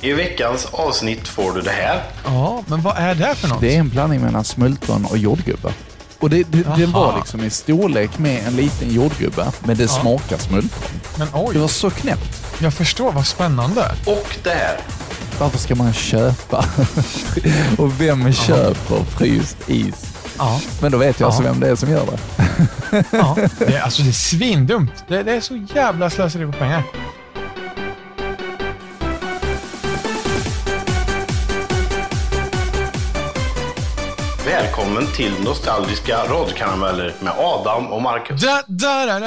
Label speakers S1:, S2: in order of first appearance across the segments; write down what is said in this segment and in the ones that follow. S1: I veckans avsnitt får du det här.
S2: Ja, men vad är det för något?
S3: Det är en blandning mellan smultron och jordgubbar. Och det, det, den var liksom i storlek med en liten jordgubbe, men det smakar smultron.
S2: Men
S3: Det var
S2: oj,
S3: så knäppt.
S2: jag förstår. Vad spännande.
S1: Och det här.
S3: Varför ska man köpa? och vem köper fryst is?
S2: Ja,
S3: Men då vet jag alltså
S2: Ja.
S3: vem det är som gör det.
S2: ja. Det, är- alltså, det är svindumt. Det, det är så jävla slöseri på pengar.
S1: Välkommen till Nostalgiska radiokarameller med Adam och Marcus.
S2: Da, da, da,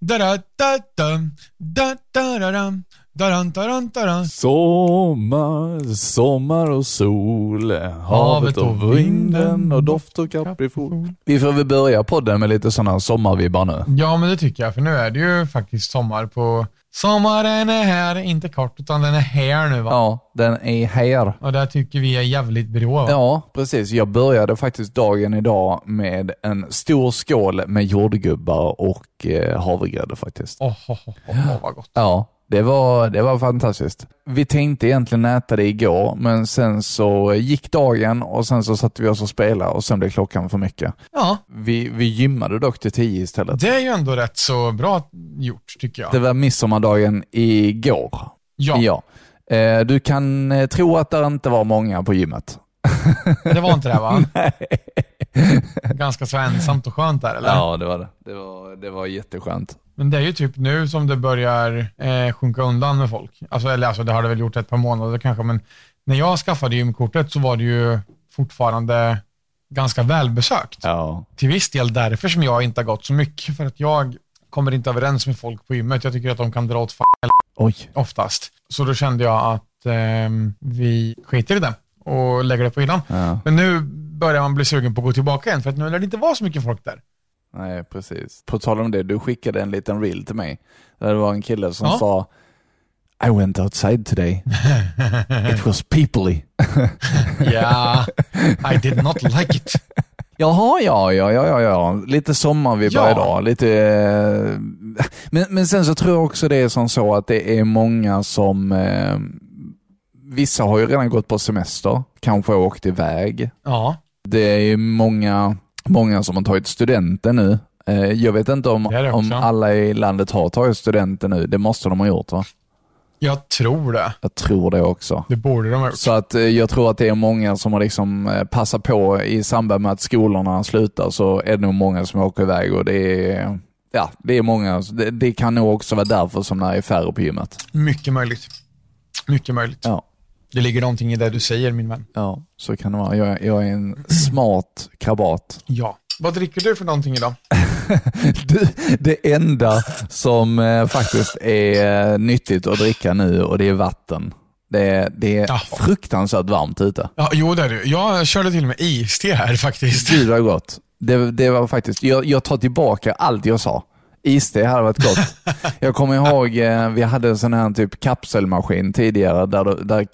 S2: da, da, da, da, da, da, da, da, da, da, da, da, da, da.
S3: Sommar, sommar och sol,
S2: havet och vinden och doft
S3: och kaprifol. Vi får väl börja podden med lite sådana sommarvibbar nu.
S2: Ja, men det tycker jag, för nu är det ju faktiskt sommar på... Sommaren är här, inte kort, utan den är här nu va?
S3: Ja, den är här.
S2: Och det tycker vi är jävligt bra. Ja.
S3: Ja, precis. Jag började faktiskt dagen idag med en stor skål med jordgubbar och eh, havregrädde faktiskt.
S2: Oh, oh, oh, oh, vad gott.
S3: Ja, det var, det var fantastiskt. Vi tänkte egentligen äta det igår, men sen så gick dagen och sen så satte vi oss och spelade och sen blev klockan för mycket.
S2: Ja,
S3: Vi, vi gymmade dock till tio istället.
S2: det är ju ändå rätt så bra gjort tycker jag.
S3: Det var midsommardagen igår.
S2: Ja,
S3: Eh, Du kan eh, tro att det inte var många på gymmet.
S2: det var inte det va? Ganska så ensamt och skönt där eller?
S3: Ja, det var det. Det var, det var jätteskönt.
S2: Men det är ju typ nu som det börjar eh, sjunka undan med folk. Alltså, eller alltså, det har det väl gjort ett par månader kanske, men när jag skaffade gymkortet så var det ju fortfarande ganska välbesökt.
S3: Ja.
S2: Till viss del därför som jag inte har gått så mycket, för att jag kommer inte överens med folk på gymmet. Jag tycker att de kan dra åt fan
S3: Oj.
S2: oftast. Så då kände jag att ehm, vi skiter i det och lägger det på hyllan.
S3: Ja.
S2: Men nu börjar man bli sugen på att gå tillbaka igen, för att nu lär det inte vara så mycket folk där.
S3: Nej, precis. På tal om det, du skickade en liten reel till mig. Där det var en kille som
S2: Ja.
S3: sa I went outside today. It was peoply.
S2: Ja, I did not like it.
S3: Jaha, ja, ja, ja, ja, ja. Lite sommarvibbar
S2: Ja.
S3: idag. Lite, eh, men, men sen så tror jag också det är som så att det är många som... Eh, vissa har ju redan gått på semester, kanske åkt iväg.
S2: Ja.
S3: Det är ju många, många som har tagit studenten nu. Eh, Jag vet inte om,
S2: Det är det också.
S3: om alla i landet har tagit studenten nu. Det måste de ha gjort va?
S2: Jag tror det.
S3: Jag tror det också.
S2: Det borde de ha gjort.
S3: Så att eh, jag tror att det är många som har liksom eh, passat på i samband med att skolorna slutar så är det nog många som åker iväg och det är, ja, det är många. Så Det, det kan nog också vara därför som det är färre på gymmet.
S2: Mycket möjligt. Mycket möjligt.
S3: Ja,
S2: Det ligger någonting i det du säger, min vän.
S3: ja så kan det vara. Jag, jag är en smart krabat.
S2: Ja. Vad dricker du för någonting idag?
S3: Du, det enda som eh, faktiskt är eh, nyttigt att dricka nu och det är vatten. Det är, det är
S2: Ja.
S3: fruktansvärt varmt ute.
S2: Ja, jo, det är du. Jag körde till och med iste här faktiskt.
S3: Gud vad gott. Det, det var faktiskt, jag, jag tar tillbaka allt jag sa. Iste hade varit gott. Jag kommer ihåg, eh, vi hade en sån här typ kapselmaskin tidigare där, där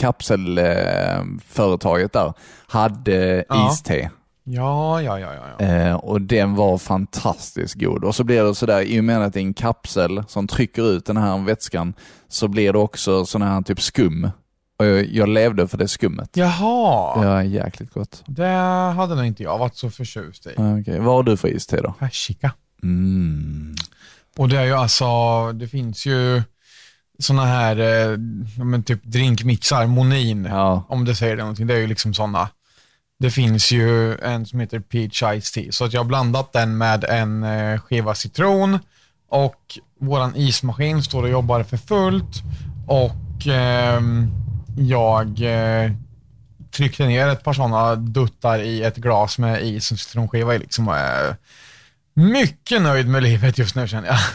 S3: kapselföretaget där hade
S2: Ja.
S3: iste.
S2: Ja, ja, ja, ja. ja.
S3: Eh, och den var fantastiskt god. Och så blir det sådär, i och med att det är en kapsel som trycker ut den här vätskan, så blir det också sån här typ skum. Och jag, jag levde för det skummet.
S2: Jaha.
S3: Det var jäkligt gott.
S2: Det hade nog inte jag varit så förtjust i.
S3: Eh, Okej, Vad har du för iste då?
S2: Persika.
S3: Mm.
S2: Och det är ju alltså, det finns ju såna här, eh, ja, men typ drinkmixar, monin,
S3: Ja.
S2: om det säger det någonting. Det är ju liksom såna. Det finns ju en som heter Peach Ice Tea, så att jag har blandat den med en eh, skiva citron och våran ismaskin står och jobbar för fullt och ehm, jag eh, tryckte ner ett par sådana duttar i ett glas med is och citronskiva i liksom och är mycket nöjd med livet just nu känner jag.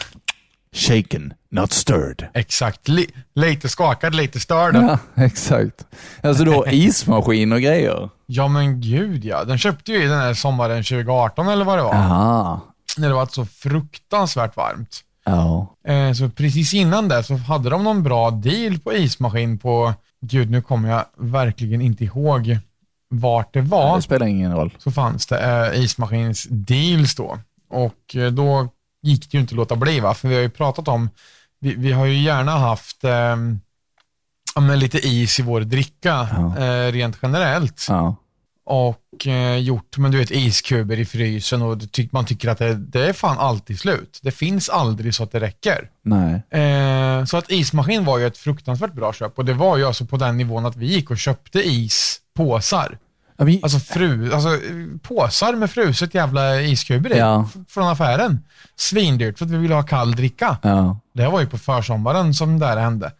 S3: Shaken, not stirred.
S2: Exakt. Li- lite skakad, lite störd.
S3: Ja, exakt. Alltså du har ismaskin och grejer.
S2: Ja men gud ja. Den köpte ju i den här sommaren 2018 eller vad det var.
S3: Aha.
S2: När det var så fruktansvärt varmt.
S3: Ja.
S2: Eh, så precis innan det så hade de någon bra deal på ismaskin på, gud nu kommer jag verkligen inte ihåg vart det var.
S3: Det spelar ingen roll.
S2: Så fanns det eh, ismaskins deals då. Och eh, då gick det ju inte att låta bli va, för vi har ju pratat om, vi, vi har ju gärna haft eh, ja, men lite is i vår dricka
S3: Ja.
S2: eh, rent generellt.
S3: Ja.
S2: Och eh, gjort men du vet, iskuber i frysen och det tyck, man tycker att det, det är fan alltid slut. Det finns aldrig så att det räcker.
S3: Nej.
S2: Eh, så att ismaskin var ju ett fruktansvärt bra köp och det var ju alltså på den nivån att vi gick och köpte ispåsar.
S3: Ja, vi,
S2: Alltså, fru, alltså eh, påsar med fruset jävla iskuber i
S3: Ja.
S2: f- från affären. Svindyrt för att vi ville ha kall dricka.
S3: ja.
S2: Det här var ju på försommaren som det här hände.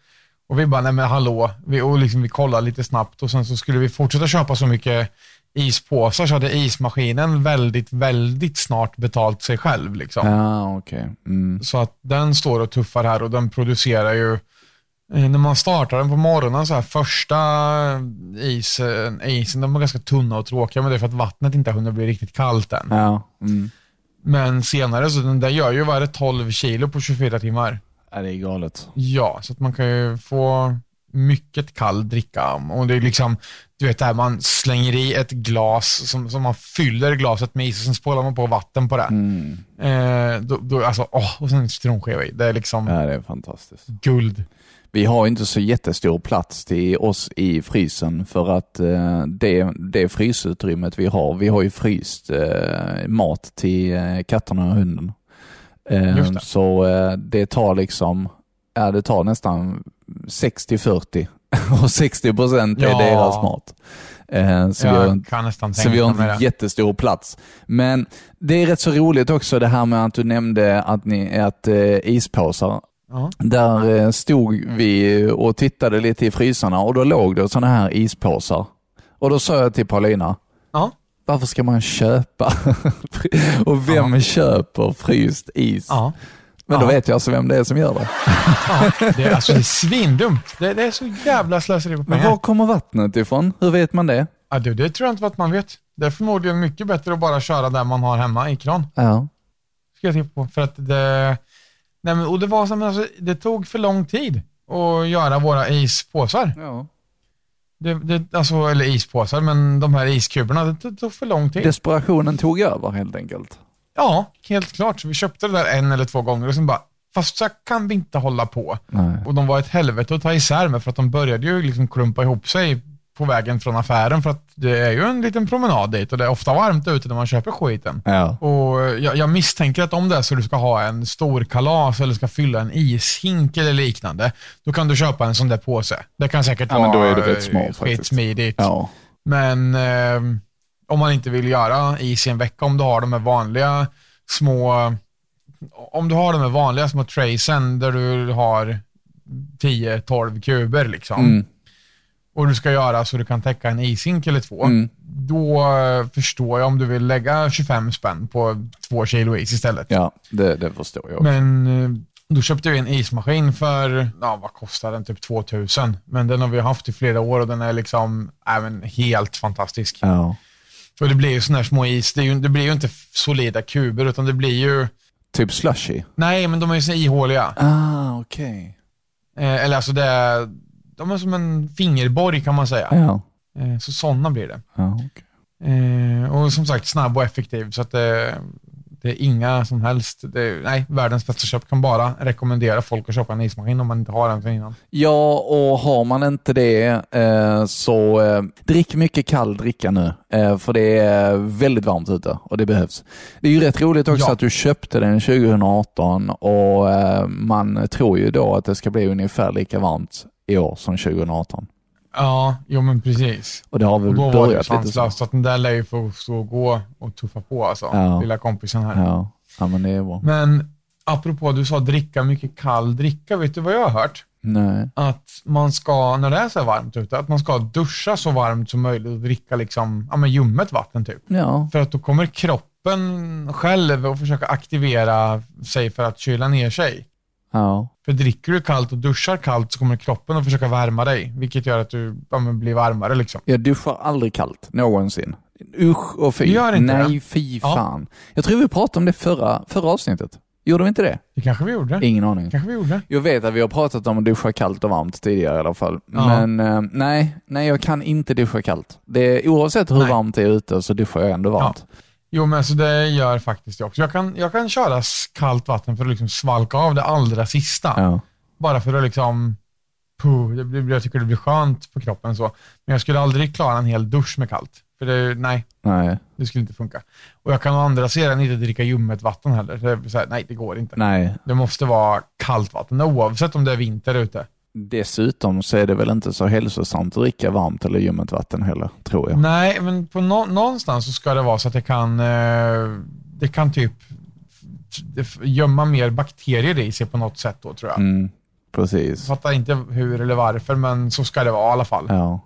S2: Och vi bara, nej men hallå, vi, och liksom, vi kollade lite snabbt och sen så skulle vi fortsätta köpa så mycket ispåsar så hade ismaskinen väldigt, väldigt snart betalt sig själv. Liksom.
S3: ja okej. Mm.
S2: Så att den står och tuffar här och den producerar ju, eh, när man startar den på morgonen så här första isen, isen de är ganska tunna och tråkiga men det är för att vattnet inte har hunnit bli riktigt kallt än.
S3: Ja. Mm.
S2: Men senare så den där gör ju, vad är det, 12 kilo på 24 timmar.
S3: ja, det är galet.
S2: Ja, så att man kan ju få mycket kall dricka. Och det är liksom, du vet det här man slänger i ett glas som, som man fyller glaset med is och sen spolar man på vatten på det.
S3: Mm.
S2: Eh, då, då, alltså, åh, och sen citronskiva i. Det är liksom
S3: Ja, det är fantastiskt.
S2: guld.
S3: Vi har inte så jättestor plats till oss i frysen för att eh, det, det frysutrymmet vi har, vi har ju fryst eh, mat till eh, katterna och hunden. Eh,
S2: Just det.
S3: Så eh, det tar liksom, ja, det tar nästan 60-40 och 60 procent är
S2: Ja.
S3: deras mat. Eh, så vi har
S2: Jag
S3: en-
S2: kan nästan
S3: så
S2: tänka
S3: vi har
S2: mig
S3: en
S2: det.
S3: jättestor plats. Men det är rätt så roligt också det här med att du nämnde att, ni, att eh, ispåsar
S2: Ja.
S3: där eh, stod vi och tittade lite i frysarna och då låg det sådana här ispåsar. Och då sa jag till Paulina,
S2: Ja.
S3: varför ska man köpa? och vem köper fryst is?
S2: Ja,
S3: Men då
S2: Ja.
S3: vet jag alltså vem det är som gör det.
S2: ja. Det, är- alltså, det är svindumt. Det, det är så jävla slöseri på
S3: Men
S2: pengar.
S3: var kommer vattnet ifrån? Hur vet man det?
S2: Ja, du, det tror jag inte att man vet. Det är förmodligen mycket bättre att bara köra där man har hemma i kran.
S3: Ja.
S2: ska jag tippa på. För att det, nej men, och det, var som, alltså, det tog för lång tid att göra våra ispåsar.
S3: ja.
S2: Det, det, alltså, eller ispåsar, men de här iskuberna, det, to- tog för lång tid.
S3: Desperationen tog över helt enkelt.
S2: Ja, helt klart. Så vi köpte det där en eller två gånger och sen bara, fast så här kan vi inte hålla på.
S3: Nej.
S2: Och de var ett helvete att ta isär med för att de började ju liksom klumpa ihop sig på vägen från affären för att det är ju en liten promenad dit och det är ofta varmt ute när man köper skiten.
S3: Ja.
S2: Och eh, jag, jag misstänker att om det är så du ska ha en stor kalas eller ska fylla en ishink eller liknande, då kan du köpa en sån där påse. Det kan säkert
S3: Ja,
S2: vara
S3: men då är det väldigt smart
S2: eh,
S3: faktiskt.
S2: skitsmidigt.
S3: Ja.
S2: Men eh, om man inte vill göra is i en vecka, om du har de här vanliga små, om du har de här vanliga små traysen där du har 10-12 kuber liksom,
S3: Mm.
S2: och du ska göra så du kan täcka en ishink eller två,
S3: Mm.
S2: då eh, förstår jag om du vill lägga 25 spänn på två kilo is istället.
S3: ja, det, det förstår jag.
S2: Men eh, då köpte vi en ismaskin för, ja vad kostar den, typ 2000. Men den har vi haft i flera år och den är liksom, äh, men helt fantastisk.
S3: Ja.
S2: Och det blir ju sådana här små is, det, är ju, det blir ju inte solida kuber utan det blir ju,
S3: Typ slushy.
S2: nej men de är ju så ihåliga.
S3: Ah, okej.
S2: Eh, eller alltså det är, de är som en fingerborg kan man säga.
S3: Ja.
S2: Eh, så sådana blir det.
S3: Ja, okej.
S2: Eh, och som sagt snabb och effektiv. Så att det, det är inga som helst, det är, nej, världens bästa köp. Kan bara rekommendera folk att köpa en ismaskin om man inte har en sedan innan.
S3: Ja, och har man inte det eh, så eh, drick mycket kall dricka nu, eh, för det är väldigt varmt ute och det behövs. Det är ju rätt roligt också
S2: Ja.
S3: att du köpte den 2018 och eh, man tror ju då att det ska bli ungefär lika varmt i år som 2018.
S2: Ja, jo men precis.
S3: Och det har
S2: Och
S3: väl
S2: då var det ju
S3: börjat lite så.
S2: sanslöst. Så att den där lär ju få stå och gå och tuffa på alltså.
S3: Ja.
S2: Lilla kompisen här.
S3: Ja. ja, men det är bra.
S2: Men apropå, du sa dricka mycket kall dricka. Vet du vad jag har hört?
S3: Nej.
S2: Att man ska, när det är så här varmt ute, att man ska duscha så varmt som möjligt och dricka liksom, ja men ljummet vatten typ.
S3: Ja,
S2: För att då kommer kroppen själv att försöka aktivera sig för att kyla ner sig.
S3: ja,
S2: För dricker du kallt och duschar kallt så kommer kroppen att försöka värma dig, vilket gör att du ja, men blir varmare. Liksom.
S3: Jag duschar aldrig kallt, någonsin. Usch och fy.
S2: Du gör inte
S3: Nej, fy
S2: Ja.
S3: fan. Jag tror vi pratade om det förra, förra avsnittet. Gjorde vi inte det?
S2: Det kanske vi gjorde.
S3: Ingen aning.
S2: kanske vi gjorde.
S3: Jag vet att vi har pratat om att duscha kallt och varmt tidigare i alla fall.
S2: Ja.
S3: Men eh, nej, nej, jag kan inte duscha kallt. Det, oavsett hur
S2: Nej.
S3: varmt det är ute så duschar jag ändå varmt.
S2: Jo, men alltså det gör faktiskt jag också. Jag kan, jag kan köra s- kallt vatten för att liksom svalka av det allra sista.
S3: Ja.
S2: Bara för att liksom puh, det blir, jag tycker det blir skönt på kroppen så. Men jag skulle aldrig klara en hel dusch med kallt. För det, nej,
S3: Nej,
S2: det skulle inte funka. Och jag kan å andra sidan inte dricka ljummet vatten heller. Så det är så här, nej, det går inte.
S3: nej.
S2: Det måste vara kallt vatten, oavsett om det är vinter ute.
S3: Dessutom så är det väl inte så hälsosamt att dricka varmt eller ljummet vatten heller, tror jag.
S2: Nej, men på nå- någonstans så ska det vara så att det kan, eh, det kan typ f- f- gömma mer bakterier i sig på något sätt då tror jag.
S3: Mm, precis.
S2: Fattar inte hur eller varför, men så ska det vara i alla fall.
S3: Ja.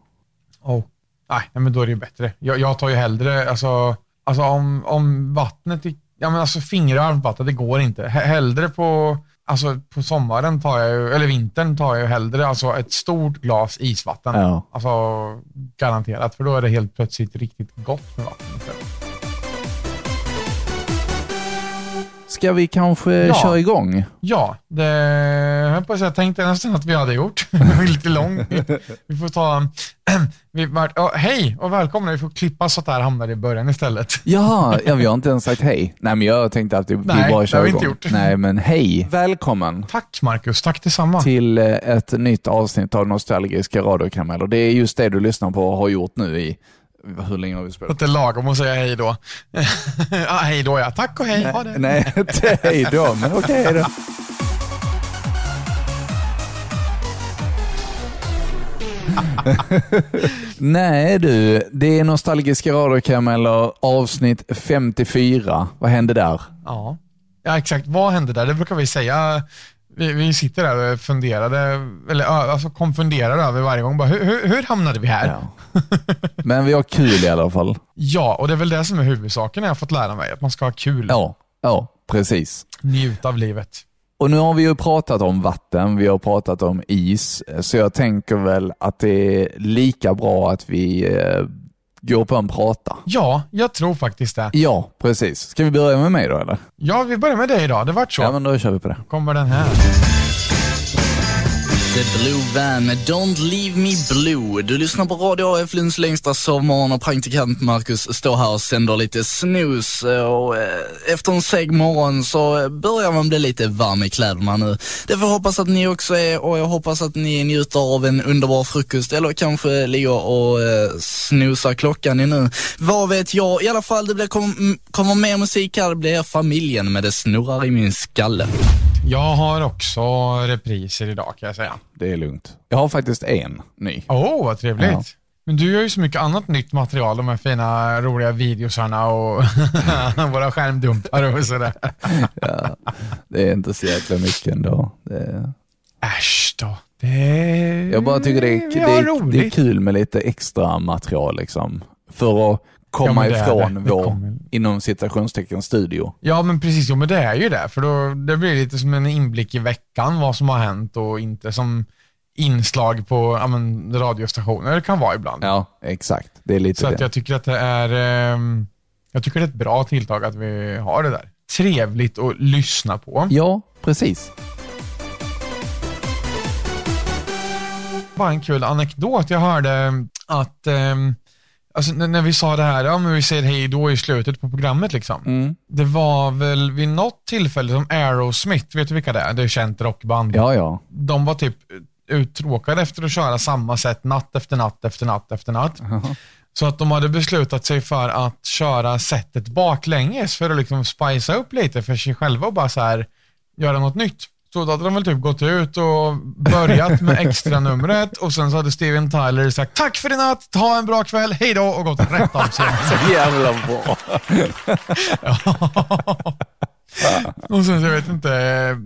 S2: Och, nej, nej, men då är det ju bättre. Jag, jag tar ju hellre, alltså, alltså om, om vattnet, i, ja men alltså fingrar på vattnet, det går inte. He- Hellre på, alltså på sommaren tar jag ju, eller vintern tar jag ju hellre alltså ett stort glas isvatten.
S3: Ja.
S2: Alltså garanterat, för då är det helt plötsligt riktigt gott med vatten.
S3: Ska vi kanske
S2: Ja.
S3: köra igång?
S2: Ja, det jag höll på att säga, tänkte jag nästan att vi hade gjort. Det var lite lång. Vi får ta, vi, var, ja, hej och välkomna. Vi får klippa så att det här hamnar i början istället.
S3: Jaha, ja, vi har inte ens sagt hej. Nej, men jag tänkte att vi
S2: Nej,
S3: bara
S2: det
S3: kör
S2: har vi
S3: igång.
S2: inte gjort.
S3: Nej, men hej. Välkommen
S2: Tack Marcus, tack detsamma.
S3: till eh, ett nytt avsnitt av Nostalgiska radiokarameller. Det är just det du lyssnar på och har gjort nu i, hur länge har vi spelat?
S2: Att det är lagom att säga hej då. ja, hej då ja, tack och hej. Ha det.
S3: Nej, inte hej då, men okej då. Nej du, det är Nostalgiska radiokarameller avsnitt 54. Vad hände där?
S2: Ja. ja, exakt. Vad hände där? Det brukar vi säga. Vi, vi sitter där och funderade, eller ja, alltså konfunderar över varje gång. Bara, hur, hur, hur hamnade vi här? Ja.
S3: Men vi har kul i alla fall.
S2: och det är väl det som är huvudsaken jag har fått lära mig. Att man ska ha kul,
S3: Ja, ja precis.
S2: njuta av livet.
S3: Och nu har vi ju pratat om vatten, vi har pratat om is, så jag tänker väl att det är lika bra att vi eh, går på en prata.
S2: Ja, jag tror faktiskt det.
S3: Ja, precis. Ska vi börja med mig då eller?
S2: Ja, vi börjar med dig idag. Det vart så.
S3: Ja, men då kör vi på det.
S2: Kommer den här.
S4: The Blue Van med Don't Leave Me Blue. Du lyssnar på Radio AF Lunds längsta sovmorgon och praktikant Marcus står här och sänder lite snus. Och eh, efter en seg morgon så eh, börjar man bli lite varm i kläderna nu. Det får jag hoppas att ni också är och jag hoppas att ni njuter av en underbar frukost eller kanske ligger och eh, snusar klockan ännu. Vad vet jag? I alla fall, det blir kom, kommer mer musik här. Det blir familjen med Det snurrar i min skalle.
S2: Jag har också repriser idag kan jag säga.
S3: Det är lugnt. Jag har faktiskt en ny.
S2: Åh, oh, vad trevligt.
S3: Ja.
S2: Men du gör ju så mycket annat nytt material, de här fina roliga videosarna och våra skärmdumpar och sådär.
S3: Det är inte så jäkla mycket ändå. Det är...
S2: Äsch då. Det...
S3: Jag bara tycker det är,
S2: Mm, vi
S3: det,
S2: har
S3: är,
S2: roligt.
S3: det är kul med lite extra material liksom. För att komma
S2: Ja, men det är
S3: ifrån
S2: det. Det
S3: vår,
S2: kommer.
S3: inom citationstecken, studio.
S2: Ja, men precis. Jo, men det är ju det. För då, det blir lite som en inblick i veckan, vad som har hänt och inte som inslag på ja, men, radiostationer. Det kan vara ibland.
S3: Ja, exakt. Det är lite
S2: Så att
S3: det.
S2: jag tycker att det är ehm, jag tycker det är ett bra tilltag att vi har det där. Trevligt att lyssna på.
S3: Ja, precis.
S2: Bara en kul anekdot. Jag hörde mm, att ehm, alltså, n- när vi sa det här, ja, men vi säger hej då i slutet på programmet. Liksom.
S3: Mm.
S2: Det var väl vid något tillfälle som Aerosmith, vet du vilka det är? Det är ett känt rockband.
S3: Ja, ja.
S2: De var typ uttråkade efter att köra samma sätt natt efter natt efter natt efter natt. Så att de hade beslutat sig för att köra sättet baklänges för att liksom spicea upp lite för sig själva och bara så här göra något nytt. Så då hade de väl typ gått ut och börjat med extra numret och sen så hade Steven Tyler sagt tack för i natt, ha en bra kväll, hej då och gått rätt av scenen.
S3: Så jävla bra.
S2: och sen så jag vet inte,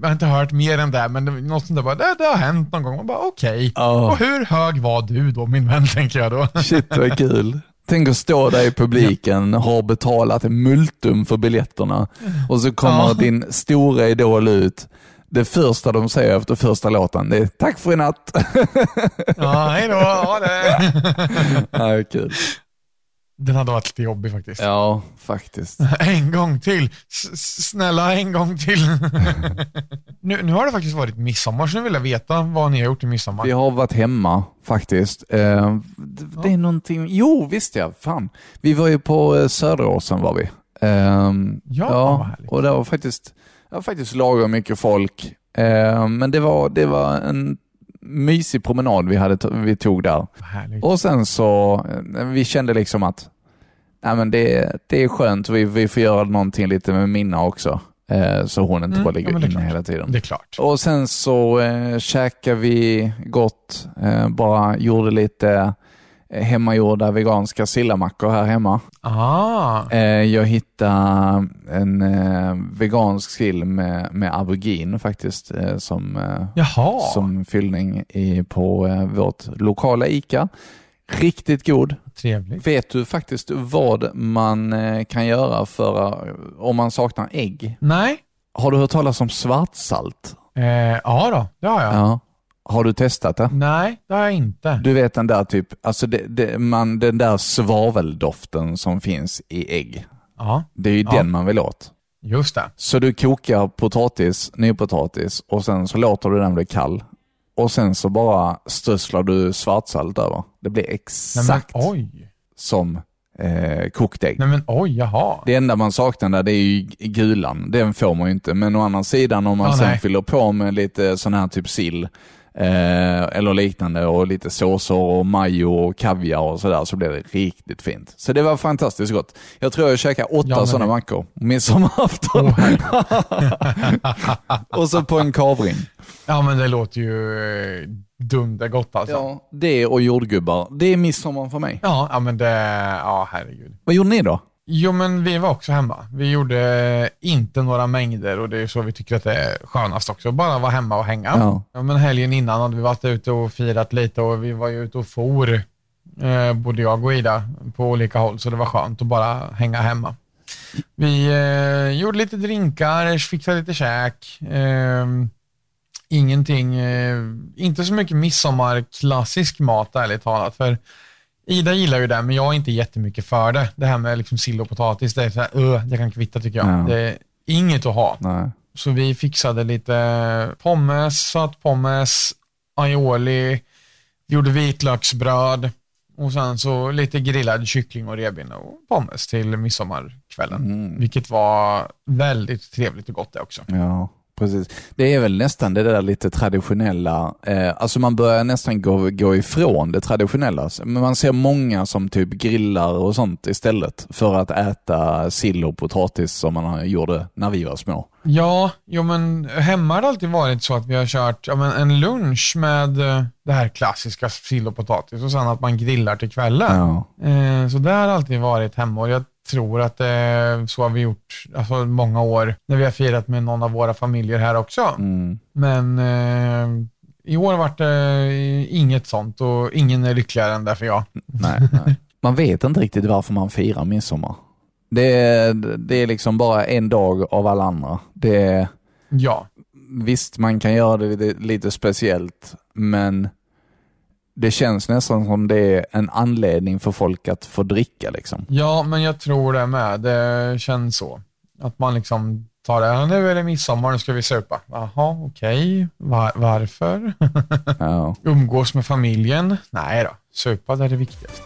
S2: jag har inte hört mer än det, men det, var något sånt där bara, det, det har hänt någon gång. Man bara okej.
S3: Ja.
S2: Och hur hög var du då min vän, tänker jag då.
S3: Shit vad kul. Tänk att stå där i publiken, har betalat multum för biljetterna och så kommer
S2: Mm. Ja.
S3: din stora idol ut. Det första de säger efter första låten, det är tack för i natt.
S2: Ja, hej då, ha det.
S3: Ja, kul.
S2: Den hade varit lite jobbig faktiskt.
S3: Ja, faktiskt.
S2: En gång till. S- s- Snälla, en gång till. nu, nu har det faktiskt varit midsommar, så nu vill jag veta vad ni har gjort i midsommar.
S3: Vi har varit hemma faktiskt. Eh, d- Det är någonting, jo visst ja, fan. Vi var ju på eh, Söderåsen var vi. Ehm,
S2: Ja, vad härligt.
S3: och det var faktiskt, det var faktiskt lagom mycket folk. Ehm, Men det var, det var en mysig promenad vi, hade, t- vi tog där.
S2: Härligt.
S3: Och sen så, eh, vi kände liksom att nej men det, det är skönt, vi, vi får göra någonting lite med Minna också. Eh, så hon inte
S2: Mm,
S3: bara
S2: ja,
S3: ligger
S2: men det är
S3: inne
S2: klart.
S3: hela tiden.
S2: Det är klart.
S3: Och sen så eh, käkade vi gott, eh, bara gjorde lite eh, hemmagjorda veganska sillamackor här hemma.
S2: Ah,
S3: Eh, jag hittade en eh, vegansk sill med, med aubergine faktiskt eh, som, eh,
S2: jaha.
S3: som fyllning i, på eh, vårt lokala ICA. Riktigt god.
S2: Trevligt.
S3: Vet du faktiskt vad man eh, kan göra för, eh, om man saknar ägg?
S2: Nej.
S3: Har du hört talas om svartsalt?
S2: Eh, ja då, det har jag.
S3: Ja. Har du testat det?
S2: Nej, det har jag inte.
S3: Du vet den där typ, alltså det, det, man, den där svaveldoften som finns i ägg.
S2: Ja,
S3: Det är ju
S2: Ja.
S3: den man vill åt.
S2: just det.
S3: Så du kokar potatis, nypotatis och sen så låter du den bli kall. Och sen så bara strösslar du svartsalt över. Det blir
S2: Nej,
S3: exakt
S2: Men, oj.
S3: som eh, kokt ägg.
S2: Nej men oj, jaha.
S3: Det enda man saknar där det är ju gulan. Den får man ju inte. Men å andra sidan om man
S2: Ja,
S3: sen
S2: nej.
S3: fyller på med lite sån här typ sill eh, eller liknande och lite såser och majo och kaviar och sådär så blir det riktigt fint. Så det var fantastiskt gott. Jag tror jag käkade
S2: Ja,
S3: åtta
S2: men-
S3: sådana mackor midsommarafton. och så på en kavring.
S2: Ja men det låter ju eh, dundergott alltså. Ja.
S3: Ja, det och jordgubbar. Det är midsommar för mig.
S2: Ja, men det, ja herregud.
S3: Vad gjorde ni då?
S2: Jo men vi var också hemma. Vi gjorde inte några mängder och det är så vi tycker att det är skönast också. Bara vara hemma och hänga.
S3: Ja.
S2: Ja, men helgen innan hade vi varit ute och firat lite och vi var ju ute och for, eh, både jag och Ida, på olika håll. Så det var skönt att bara hänga hemma. Vi eh, gjorde lite drinkar, fixade lite käk. Eh, ingenting, eh, inte så mycket midsommarklassisk mat ärligt talat. För Ida gillar ju det, men jag är inte jättemycket för det. Det här med liksom sill och potatis, det är så här, "Ugh, det kan kvitta tycker jag.
S3: Ja.
S2: Det är inget att ha.
S3: Nej.
S2: Så vi fixade lite pommes, sötpommes, aioli, vi gjorde vitlöksbröd och sen så lite grillad kyckling och revbena och pommes till midsommarkvällen. Vilket var väldigt trevligt och gott det också.
S3: Ja, precis. Det är väl nästan det där lite traditionella, eh, alltså man börjar nästan gå, gå ifrån det traditionella. Men man ser många som typ grillar och sånt istället för att äta sill och potatis som man gjorde när vi var små.
S2: Ja, jo men hemma har det alltid varit så att vi har kört ja, men en lunch med eh, det här klassiska sill och potatis och sen att man grillar till kvällen.
S3: Ja.
S2: Eh, Så det har alltid varit hemma och jag tror att eh, så har vi gjort alltså, många år när vi har firat med någon av våra familjer här också.
S3: Mm.
S2: Men eh, i år vart det eh, inget sånt och ingen är lyckligare än därför jag.
S3: Nej, nej. Man vet inte riktigt varför man firar midsommar. Det är, det är liksom bara en dag av alla andra. Det är,
S2: Ja,
S3: visst, man kan göra det lite, lite speciellt, men det känns nästan som det är en anledning för folk att få dricka. Liksom.
S2: ja men jag tror det med. Det känns så. Att man liksom tar det, "Ja, nu är det midsommar, nu ska vi supa. Jaha, okej, Var, varför?
S3: Ja.
S2: Umgås med familjen? Nej då, supa det är det viktigaste.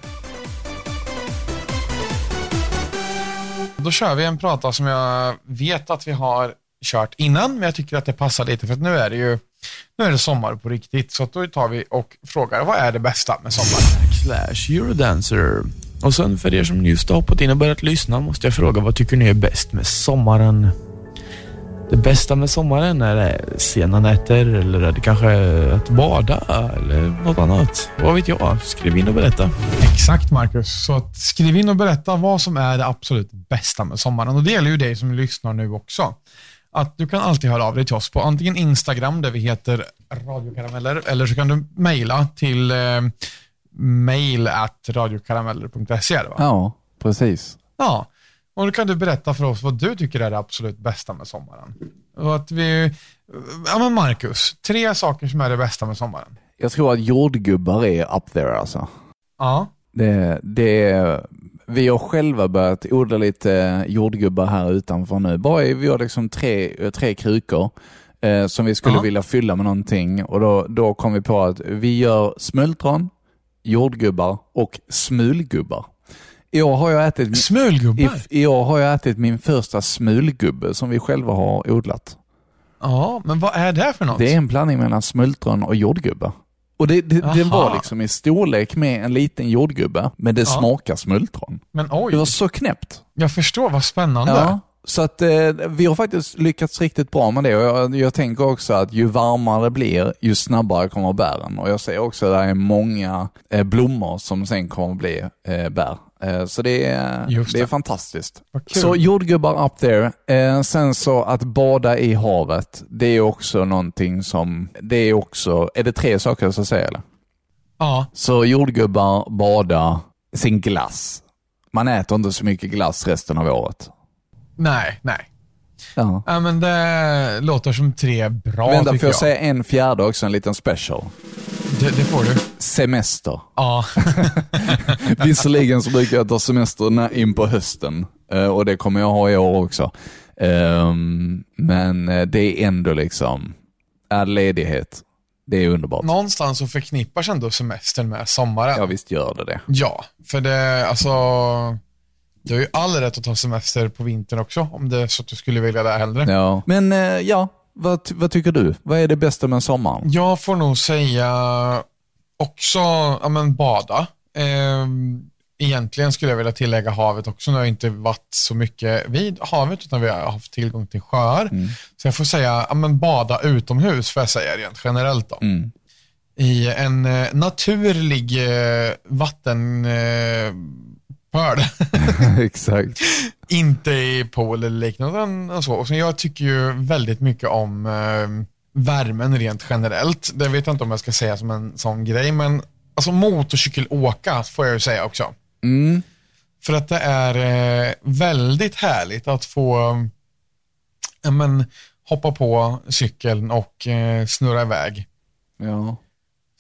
S2: Då kör vi en prata som jag vet att vi har kört innan, men jag tycker att det passar lite för att nu är det ju nu är det sommar på riktigt. Så att då tar vi och frågar vad är det bästa med sommar?
S5: slash Eurodancer. Och sen för er som just har hoppat in och börjat lyssna måste jag fråga vad tycker ni är bäst med sommaren? Det bästa med sommaren är det sena nätter eller är det kanske att bada eller något annat? Vad vet jag? Skriv in och berätta.
S2: Exakt Marcus, så att skriv in och berätta vad som är det absolut bästa med sommaren. Och det gäller ju dig som lyssnar nu också. Att du kan alltid höra av dig till oss på antingen Instagram där vi heter radiokarameller eller så kan du mejla till eh, mail at radiokarameller.se. är det va?
S3: ja, precis.
S2: Ja, och då kan du berätta för oss vad du tycker är det absolut bästa med sommaren. Och att vi, ja men Marcus, tre saker som är det bästa med sommaren.
S3: Jag tror att jordgubbar är up there alltså.
S2: Ja,
S3: Det, det, vi har själva börjat odla lite eh, jordgubbar här utanför nu. Bara, vi har liksom tre, tre krukor eh, som vi skulle
S2: Ja.
S3: vilja fylla med någonting och då, då kom vi på att vi gör smultron, jordgubbar och smulgubbar. I år har jag ätit i,
S2: smulgubbar.
S3: I år har jag ätit min första smulgubbe som vi själva har odlat.
S2: Ja, men vad är det för något?
S3: Det är en blandning mellan smultron och jordgubbe. Och det, det, den
S2: Aha.
S3: var liksom i storlek med en liten jordgubbe, men det smakar smultron.
S2: Men
S3: Det var
S2: oj,
S3: så knäppt.
S2: jag förstår. Vad spännande.
S3: Ja. Så att eh, vi har faktiskt lyckats riktigt bra med det och jag, jag tänker också att ju varmare det blir, ju snabbare kommer bären. Och jag ser också att det är många eh, blommor som sen kommer bli eh, bär. Eh, så det är,
S2: Just
S3: det är
S2: det.
S3: fantastiskt.
S2: Vad kul.
S3: Så jordgubbar up there. Eh, sen så att bada i havet, det är också någonting som, det är också, är det tre saker jag ska säga eller?
S2: Ja,
S3: Så jordgubbar, bada, sin glass. Man äter inte så mycket glass resten av året.
S2: nej, nej.
S3: Ja.
S2: Ja, men det låter som tre bra
S3: Vänta,
S2: tycker
S3: får jag
S2: jag.
S3: säga en fjärde också, en liten special?
S2: Det, det får du.
S3: Semester.
S2: Ja,
S3: Visserligen så brukar jag ta semester när- in på hösten eh, och det kommer jag ha i år också. Ehm, Men eh, det är ändå liksom, är ledighet, det är underbart.
S2: någonstans så förknippas ändå semestern med sommaren.
S3: Ja visst gör det det.
S2: Ja, för det, alltså, du har ju all rätt att ta semester på vintern också, om det är så att du skulle vilja det hellre.
S3: Ja. Men eh, ja, vad, ty- vad tycker du? Vad är det bästa med sommaren?
S2: Jag får nog säga också, ja men bada. Ehm, egentligen skulle jag vilja tillägga havet också. Nu har jag inte varit så mycket vid havet, utan vi har haft tillgång till sjöar. Så jag får säga, ja men bada utomhus, får jag säga rent generellt då.
S3: Mm.
S2: I en eh, naturlig eh, vattenpöl. Eh, pöl.
S3: Exakt.
S2: inte i pool eller liknande. än- än så. Och så jag tycker ju väldigt mycket om eh, värmen rent generellt. Det vet jag inte om jag ska säga som en sån grej, men alltså motorcykelåka får jag ju säga också.
S3: Mm.
S2: För att det är eh, väldigt härligt att få ja, men, hoppa på cykeln och eh, snurra iväg.
S3: Ja.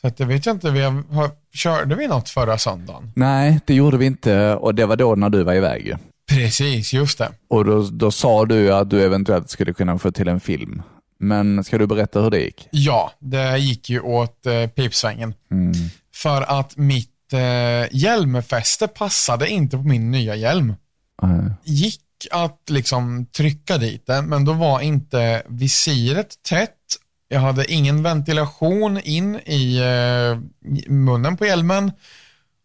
S2: Så att det vet jag inte, vi har, har, körde vi något förra söndagen?
S3: Nej, det gjorde vi inte och det var då när du var iväg ju.
S2: Precis, just det.
S3: Och då, då sa du att du eventuellt skulle kunna få till en film. Men ska du berätta hur det gick?
S2: Ja, det gick ju åt eh, pipsvängen.
S3: Mm.
S2: För att mitt eh, hjälmfäste passade inte på min nya hjälm.
S3: Eh,
S2: Gick att liksom trycka dit den, men då var inte visiret tätt. Jag hade ingen ventilation in i eh, munnen på hjälmen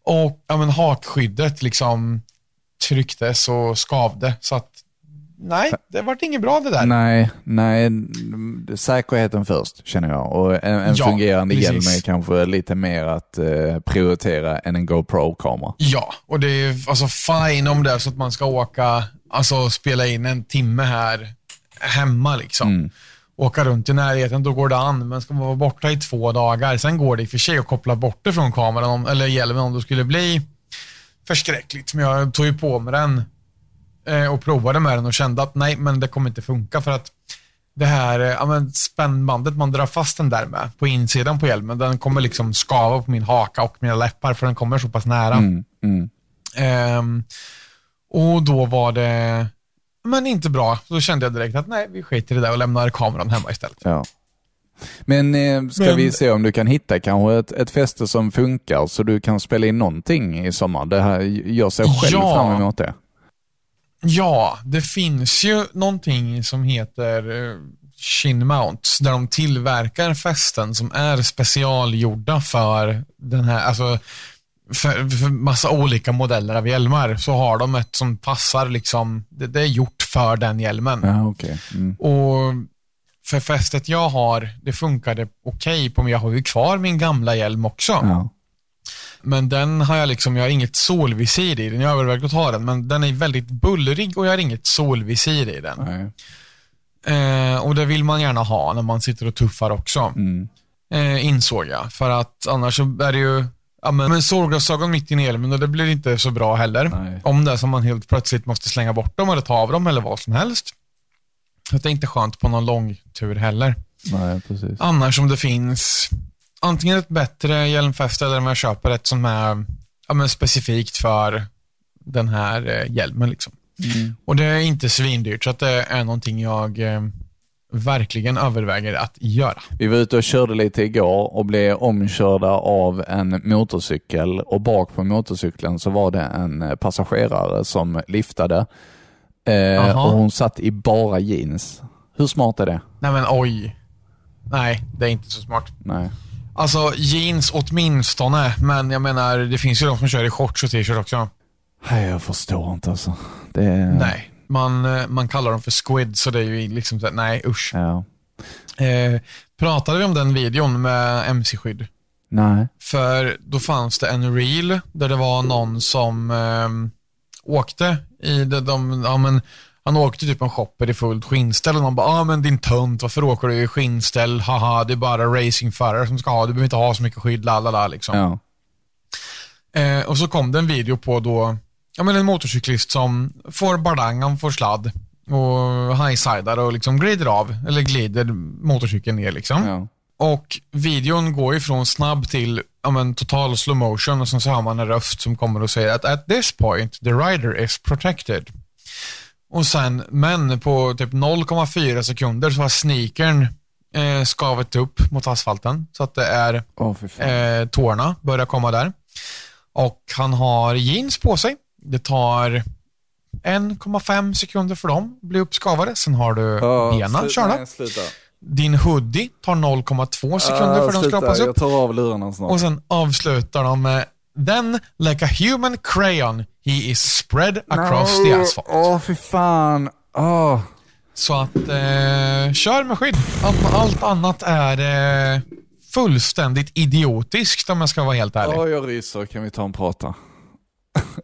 S2: och ja, men hakskyddet liksom trycktes och skavde. Så att nej, det vart inget bra det där.
S3: Nej, nej. mm, Säkerheten först, känner jag. Och en, en
S2: Ja,
S3: fungerande
S2: precis.
S3: hjälm är kanske lite mer att eh, prioritera än en GoPro-kamera.
S2: Ja, och det är alltså fine om det är så att man ska åka, alltså spela in en timme här hemma liksom. Åka runt i närheten, då går det an. Men ska man vara borta i två dagar, sen går det i och för sig att koppla bort det från kameran, om, eller hjälmen om det skulle bli förskräckligt. Men jag tog ju på mig den eh, och provade med den och kände att nej, men det kommer inte funka för att det här eh, ja, men spännbandet man drar fast den där med på insidan på hjälmen, den kommer liksom skava på min haka och mina läppar för den kommer så pass nära.
S3: Mm, mm.
S2: Ehm, och då var det men inte bra. Då kände jag direkt att nej, vi skiter i det där och lämnar kameran hemma istället.
S3: Ja. Men eh, ska
S2: Men-
S3: vi se om du kan hitta kanske ett, ett fäste som funkar så du kan spela in någonting i sommar. Det här, jag ser själv
S2: Ja.
S3: fram emot det.
S2: Ja, det finns ju någonting som heter eh, Shin Mounts där de tillverkar fästen som är specialgjorda för den här, alltså för, för massa olika modeller av hjälmar. Så har de ett som passar liksom, det, det är gjort för den hjälmen.
S3: Ja, okej. Mm.
S2: Och för fästet jag har, det funkade okej på mig. Jag har ju kvar min gamla hjälm också.
S3: Ja.
S2: Men den har jag liksom, jag har inget solvisir i den. Jag övervägde att ta den, men den är väldigt bullrig och jag har inget solvisir i den.
S3: Nej.
S2: Eh, och det vill man gärna ha när man sitter och tuffar också,
S3: Mm.
S2: eh, insåg jag. För att annars så är det ju, ja men, men solglasögon mitt in i hjälmen och det blir inte så bra heller.
S3: Nej.
S2: Om det är som man helt plötsligt måste slänga bort dem eller ta av dem eller vad som helst. Så det är inte skönt på någon lång tur heller.
S3: Nej, precis.
S2: Annars om det finns antingen ett bättre hjälmfäste eller om jag köper ett som är ja, men specifikt för den här eh, hjälmen. Liksom.
S3: Mm.
S2: Och det är inte svindyrt, så att det är någonting jag eh, verkligen överväger att göra.
S3: Vi var ute och körde lite igår och blev omkörda av en motorcykel och bak på motorcykeln så var det en eh, passagerare som liftade eh,
S2: Jaha.
S3: och hon satt i bara jeans. Hur smart är det?
S2: Nej men oj. Nej, det är inte så smart.
S3: Nej.
S2: Alltså jeans åtminstone, men jag menar det finns ju de som kör i shorts och t-shirt också.
S3: Nej, jag förstår inte alltså. Det är...
S2: Nej, man, eh, man kallar dem för squid så det är ju liksom så här, nej usch.
S3: Ja.
S2: Eh, pratade vi om den videon med mc-skydd?
S3: Nej.
S2: För då fanns det en reel där det var någon som ehm, åkte i de, de, ja, men, han åkte typ en shopper i fullt skinnställ och någon bara, ja ah, men din tönt, varför åker du i skinnställ? Haha, det är bara racingförare som ska ha, du behöver inte ha så mycket skydd, la la la liksom.
S3: Ja.
S2: Eh, och så kom det en video på då, ja men en motorcyklist som får bardangan, får sladd och highsidar och liksom glider av, eller glider motorcykeln ner liksom.
S3: Ja.
S2: Och videon går ju från snabb till ja, men, total slow motion och sen så hör man en röst som kommer och säger att at this point the rider is protected. Och sen, men på typ 0,4 sekunder så har sneakern eh, skavet upp mot asfalten så att det är
S3: Åh, fy fan.
S2: eh, tårna börjar komma där. Och han har jeans på sig. Det tar 1,5 sekunder för dem att bli uppskavade. Sen har du benen körda.
S3: Sluta.
S2: Din hoodie tar 0,2 sekunder för den skrapas upp.
S3: Jag tar av lurarna snart.
S2: Och sen avslutar de med Then, like a human crayon, he is spread across the asphalt.
S3: Åh, fy fan. Åh.
S2: Så att, eh, kör med skydd. Allt, allt annat är eh, fullständigt idiotiskt om jag ska vara helt ärlig.
S3: Åh, jag ryser. Kan vi ta en prata?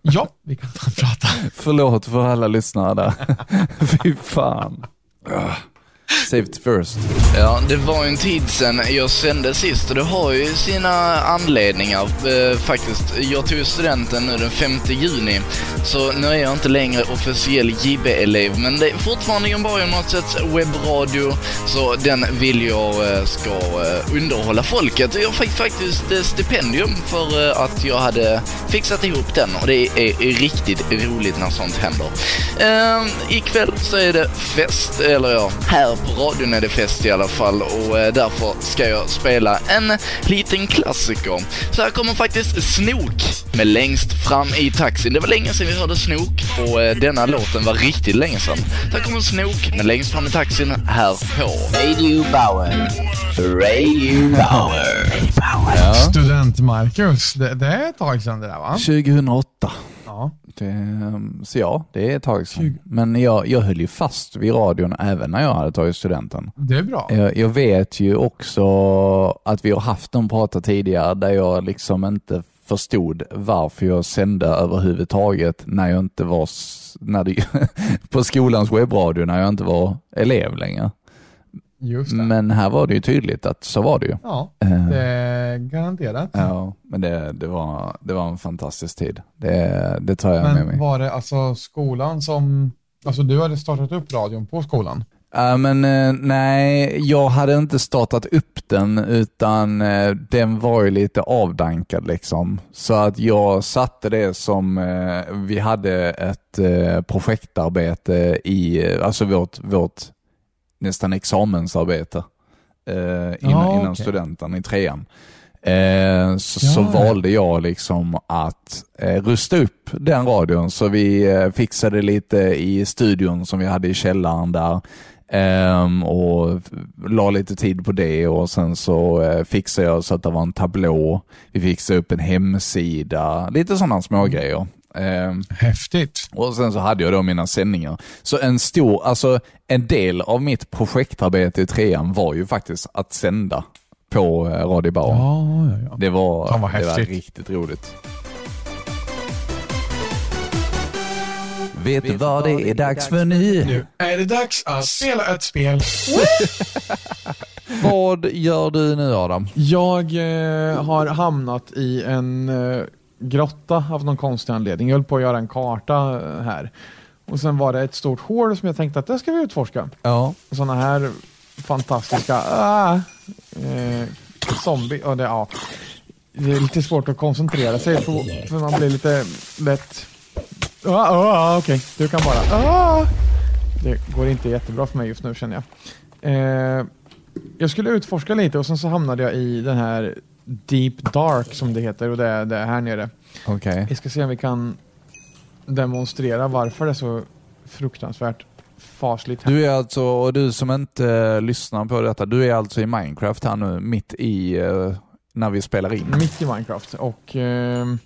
S2: Ja, vi kan ta en prata.
S3: Förlåt för alla lyssnare där. fy fan. Åh. Saved first.
S4: Ja, det var ju en tid sedan jag sände sist och det har ju sina anledningar eh, faktiskt. Jag tog studenten nu den 5 juni, så nu är jag inte längre officiell JB-elev, men det är fortfarande Jon Borg-gymnasiets webbradio, så den vill jag eh, ska eh, underhålla folket. Jag fick faktiskt eh, stipendium för eh, att jag hade fixat ihop den och det är riktigt roligt när sånt händer. Eh, ikväll så är det fest, eller ja, här på radion är det fest i alla fall och eh, därför ska jag spela en liten klassiker. Så här kommer faktiskt Snok med Längst fram i taxin. Det var länge sedan vi hörde Snok och eh, denna låten var riktigt länge sedan. Så här kommer Snok med Längst fram i taxin här på Radio Bauer. Radio Bauer.
S3: Ja.
S2: Student-Marcus, det, det är ett tag sedan det där va?
S3: 2008.
S2: Ja.
S3: Det, ehm, så ja, det är ett tag sedan. Men jag, jag höll ju fast vid radion även när jag hade tagit studenten.
S2: Det är bra.
S3: Jag, jag vet ju också att vi har haft en prata tidigare där jag liksom inte förstod varför jag sände överhuvudtaget när jag inte var s- när det, på skolans webbradio när jag inte var elev längre.
S2: Just det.
S3: Men här var det ju tydligt att så var det ju.
S2: Ja,
S3: Eh,
S2: det är garanterat.
S3: Ja, men det, det, var, det var en fantastisk tid. Det, det tar jag med mig.
S2: Men var det alltså skolan som... Alltså du hade startat upp radion på skolan?
S3: Ja, men eh, nej, jag hade inte startat upp den utan eh, den var ju lite avdankad liksom. Så att jag satte det som, eh, vi hade ett eh, projektarbete i, eh, alltså vårt, vårt nästan examensarbete eh, innan,
S2: Ja,
S3: innan
S2: okej.
S3: studenten i trean. Eh, så, så
S2: Ja.
S3: valde jag liksom att eh, rusta upp den radion. Så vi eh, fixade lite i studion som vi hade i källaren där. ehm, och la lite tid på det och sen så eh, fixade jag så att det var en tablå. Vi fixade upp en hemsida. Lite sådana smågrejer. Ehm,
S2: Häftigt.
S3: och sen så hade jag då mina sändningar. Så en stor, alltså en del av mitt projektarbete i trean var ju faktiskt att sända på eh, Radio Bauer.
S2: Ja, ja, ja.
S3: Det, var,
S2: Fan, vad
S3: det var
S2: häftigt.
S3: riktigt roligt. Vet du vad det är dags för nu?
S2: Nu är det dags att spela ett spel.
S3: Vad gör du nu Adam?
S2: Jag eh, har hamnat i en eh, grotta av någon konstig anledning. Jag höll på att göra en karta eh, här. Och sen var det ett stort hål som jag tänkte att det ska vi utforska.
S3: Ja.
S2: sådana här fantastiska ah, eh, zombie... Och det, ja. det är lite svårt att koncentrera sig för, för man blir lite lätt... Ah, ah, ah, Okej, du kan bara... Ah. Det går inte jättebra för mig just nu känner jag. Eh, jag skulle utforska lite och sen så hamnade jag i den här Deep Dark som det heter och det är, det är här nere.
S3: Okej.
S2: Vi ska se om vi kan demonstrera varför det är så fruktansvärt fasligt.
S3: Du är alltså, och du som inte eh, lyssnar på detta, du är alltså i Minecraft här nu mitt i, eh, när vi spelar in.
S2: mitt i Minecraft och ehm,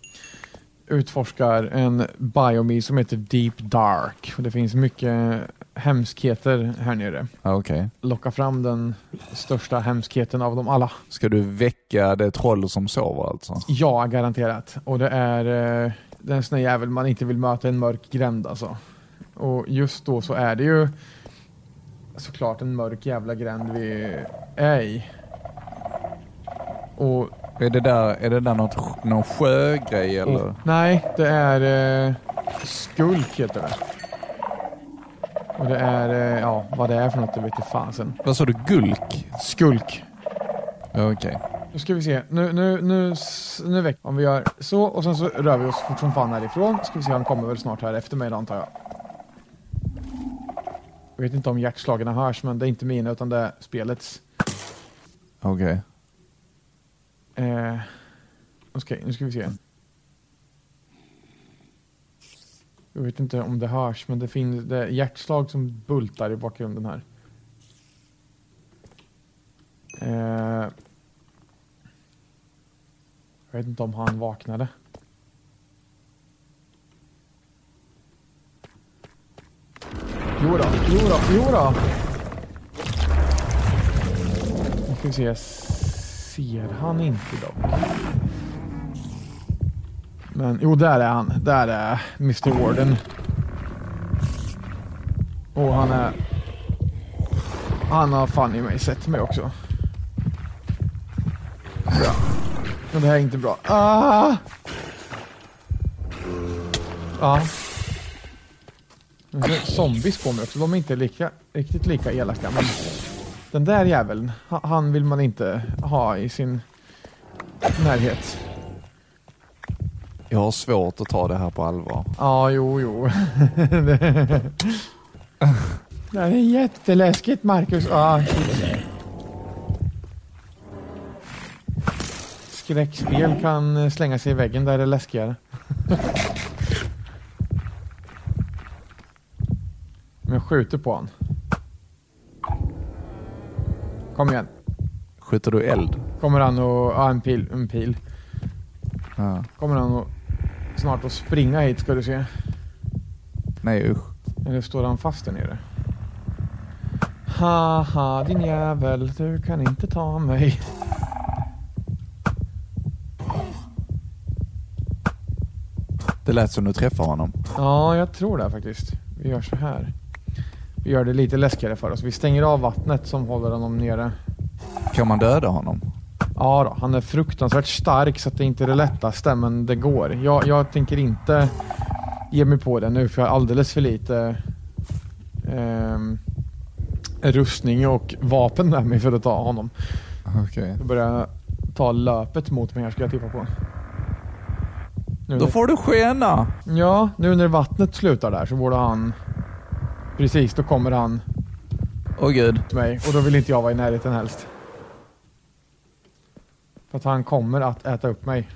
S2: utforskar en biomi som heter Deep Dark. Och det finns mycket hemskheter här nere.
S3: Ja, Okej.
S2: Locka fram den största hemskheten av dem alla.
S3: Ska du väcka det troll som sover alltså?
S2: Ja, garanterat. Och det är eh, den sån där jävel man inte vill möta i en mörk gränd alltså. Och just då så är det ju såklart en mörk jävla gränd vi är i. Och
S3: Är det där, är det där något, sj- någon sjögrej eller?
S2: Och- nej, det är eh, Skulk heter det. Och det är, eh, ja vad det är för något det vete fasen.
S3: Vad sa du? Gulk?
S2: Skulk.
S3: Okej.
S2: Nu ska vi se. Nu, nu, nu, s- nu väck. Om vi gör så och sen så rör vi oss fort som fan härifrån. Ska vi se, han kommer väl snart här efter mig då, antar jag. Jag vet inte om hjärtslagen hörs men det är inte mina utan det är spelets.
S3: Okej.
S2: Eh, Okej, nu ska vi se. Jag vet inte om det hörs, men det finns det är hjärtslag som bultar i bakgrunden här. Eh, jag vet inte om han vaknade. Jo då, jo då, jo då. Nu ska vi se, jag ser han inte dock. Men jo, där är han. Där är Mr Warden. Och han är... Han har fan i mig sett mig också. Bra. Men det här är inte bra. Ah! Ja. Nu är det Zombies på mig också. De är inte lika, riktigt lika elaka. Men den där jäveln, ha- han vill man inte ha i sin närhet.
S3: Jag har svårt att ta det här på allvar.
S2: Ja, jo, jo. det det här är jätteläskigt, Marcus. Ah, shit. Skräckspel kan eh, slänga sig i väggen där det är läskigare. Men jag skjuter på honom. Kom igen.
S3: Skjuter du eld?
S2: Kommer han och... Ja, en pil. En pil.
S3: Ja.
S2: Kommer han och snart att springa hit ska du se.
S3: Nej usch.
S2: Eller står han fast där nere? Haha, din jävel, du kan inte ta mig.
S3: Det lät som du träffar honom.
S2: Ja, jag tror det faktiskt. Vi gör så här. Vi gör det lite läskigare för oss. Vi stänger av vattnet som håller honom nere.
S3: Kan man döda honom?
S2: Ja då, han är fruktansvärt stark så att det inte är det lättaste, men det går. Jag, jag tänker inte ge mig på det nu för jag har alldeles för lite ehm, rustning och vapen med mig för att ta honom.
S3: Okej.
S2: Jag börjar ta löpet mot mig här ska jag tippa på. Nu
S3: Då
S2: när,
S3: får du skena!
S2: ja, nu när vattnet slutar där så borde han... Precis, då kommer han
S3: Åh gud.
S2: till mig och då vill inte jag vara i närheten helst. För att han kommer att äta upp mig.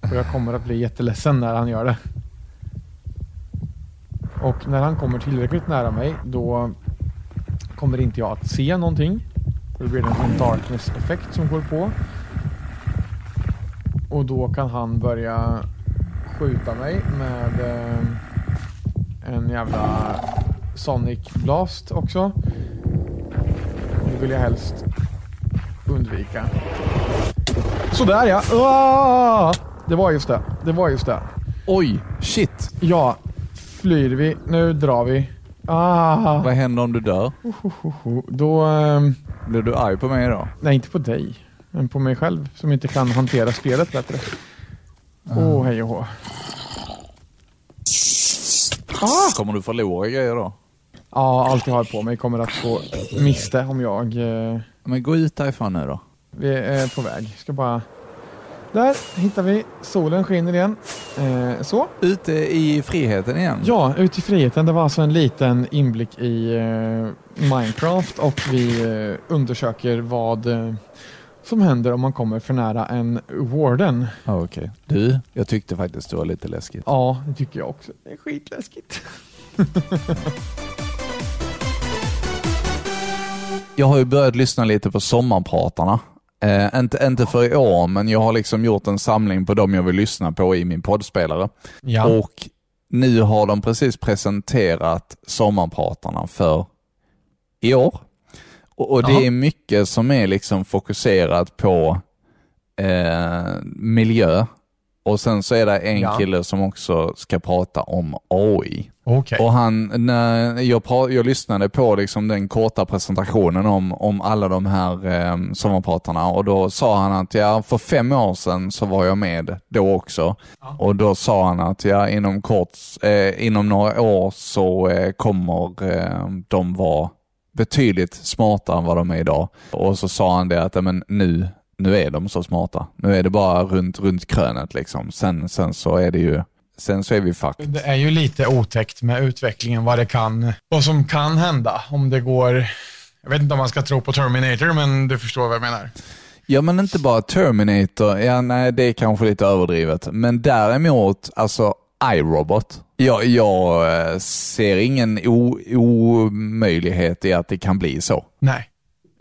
S2: Och jag kommer att bli jätteledsen när han gör det. Och när han kommer tillräckligt nära mig då kommer inte jag att se någonting. För Då blir det en darkness-effekt som går på. Och då kan han börja skjuta mig med eh, en jävla Sonic Blast också. Det vill jag helst undvika. Sådär ja! Ah! Det var just det. Det var just det.
S3: Oj! Shit!
S2: Ja, flyr vi. Nu drar vi. Ah.
S3: Vad händer om du dör?
S2: Hoho. Då... ehm,
S3: Blir du arg på mig då?
S2: Nej, inte på dig. Men på mig själv som inte kan hantera spelet bättre. Åh, oh, hej och hå.
S3: Kommer du förlora grejer då?
S2: Ja, allt jag har på mig kommer att gå miste om jag... eh,
S3: Men gå ut därifrån nu då.
S2: Vi är på väg. Ska bara... Där hittar vi. Solen skiner igen. Eh, så.
S3: Ute i friheten igen?
S2: Ja, Ut i friheten. Det var alltså en liten inblick i eh, Minecraft och vi eh, undersöker vad eh, som händer om man kommer för nära en warden.
S3: Ja, Ah, Okej. Du, jag tyckte faktiskt det var lite läskigt.
S2: Ja, det tycker jag också. Det är skitläskigt.
S3: Jag har ju börjat lyssna lite på sommarpratarna. Eh, inte, inte för i år, men jag har liksom gjort en samling på dem jag vill lyssna på i min poddspelare.
S2: Ja.
S3: Och nu har de precis presenterat Sommarpratarna för i år. Och, och
S2: Jaha.
S3: det är mycket som är liksom fokuserat på eh, miljö. Och sen så är det en
S2: Ja.
S3: kille som också ska prata om AI.
S2: Okej.
S3: Och han, när jag, pra- jag lyssnade på liksom den korta presentationen om, om alla de här eh, sommarpratarna och då sa han att ja, för fem år sedan så var jag med då också. Och då sa han att ja, inom, kort, eh, inom några år så eh, kommer eh, de vara betydligt smartare än vad de är idag. Och så sa han det att ja, men nu, nu är de så smarta. Nu är det bara runt, runt krönet liksom. Sen, sen så är det ju, sen så är vi fucked.
S2: Det är ju lite otäckt med utvecklingen, vad det kan, vad som kan hända om det går, jag vet inte om man ska tro på Terminator, men du förstår vad jag menar.
S3: Ja, men inte bara Terminator. Ja, nej, det är kanske lite överdrivet. Men däremot, alltså iRobot. Jag, jag eh, ser ingen o- omöjlighet i att det kan bli så.
S2: Nej.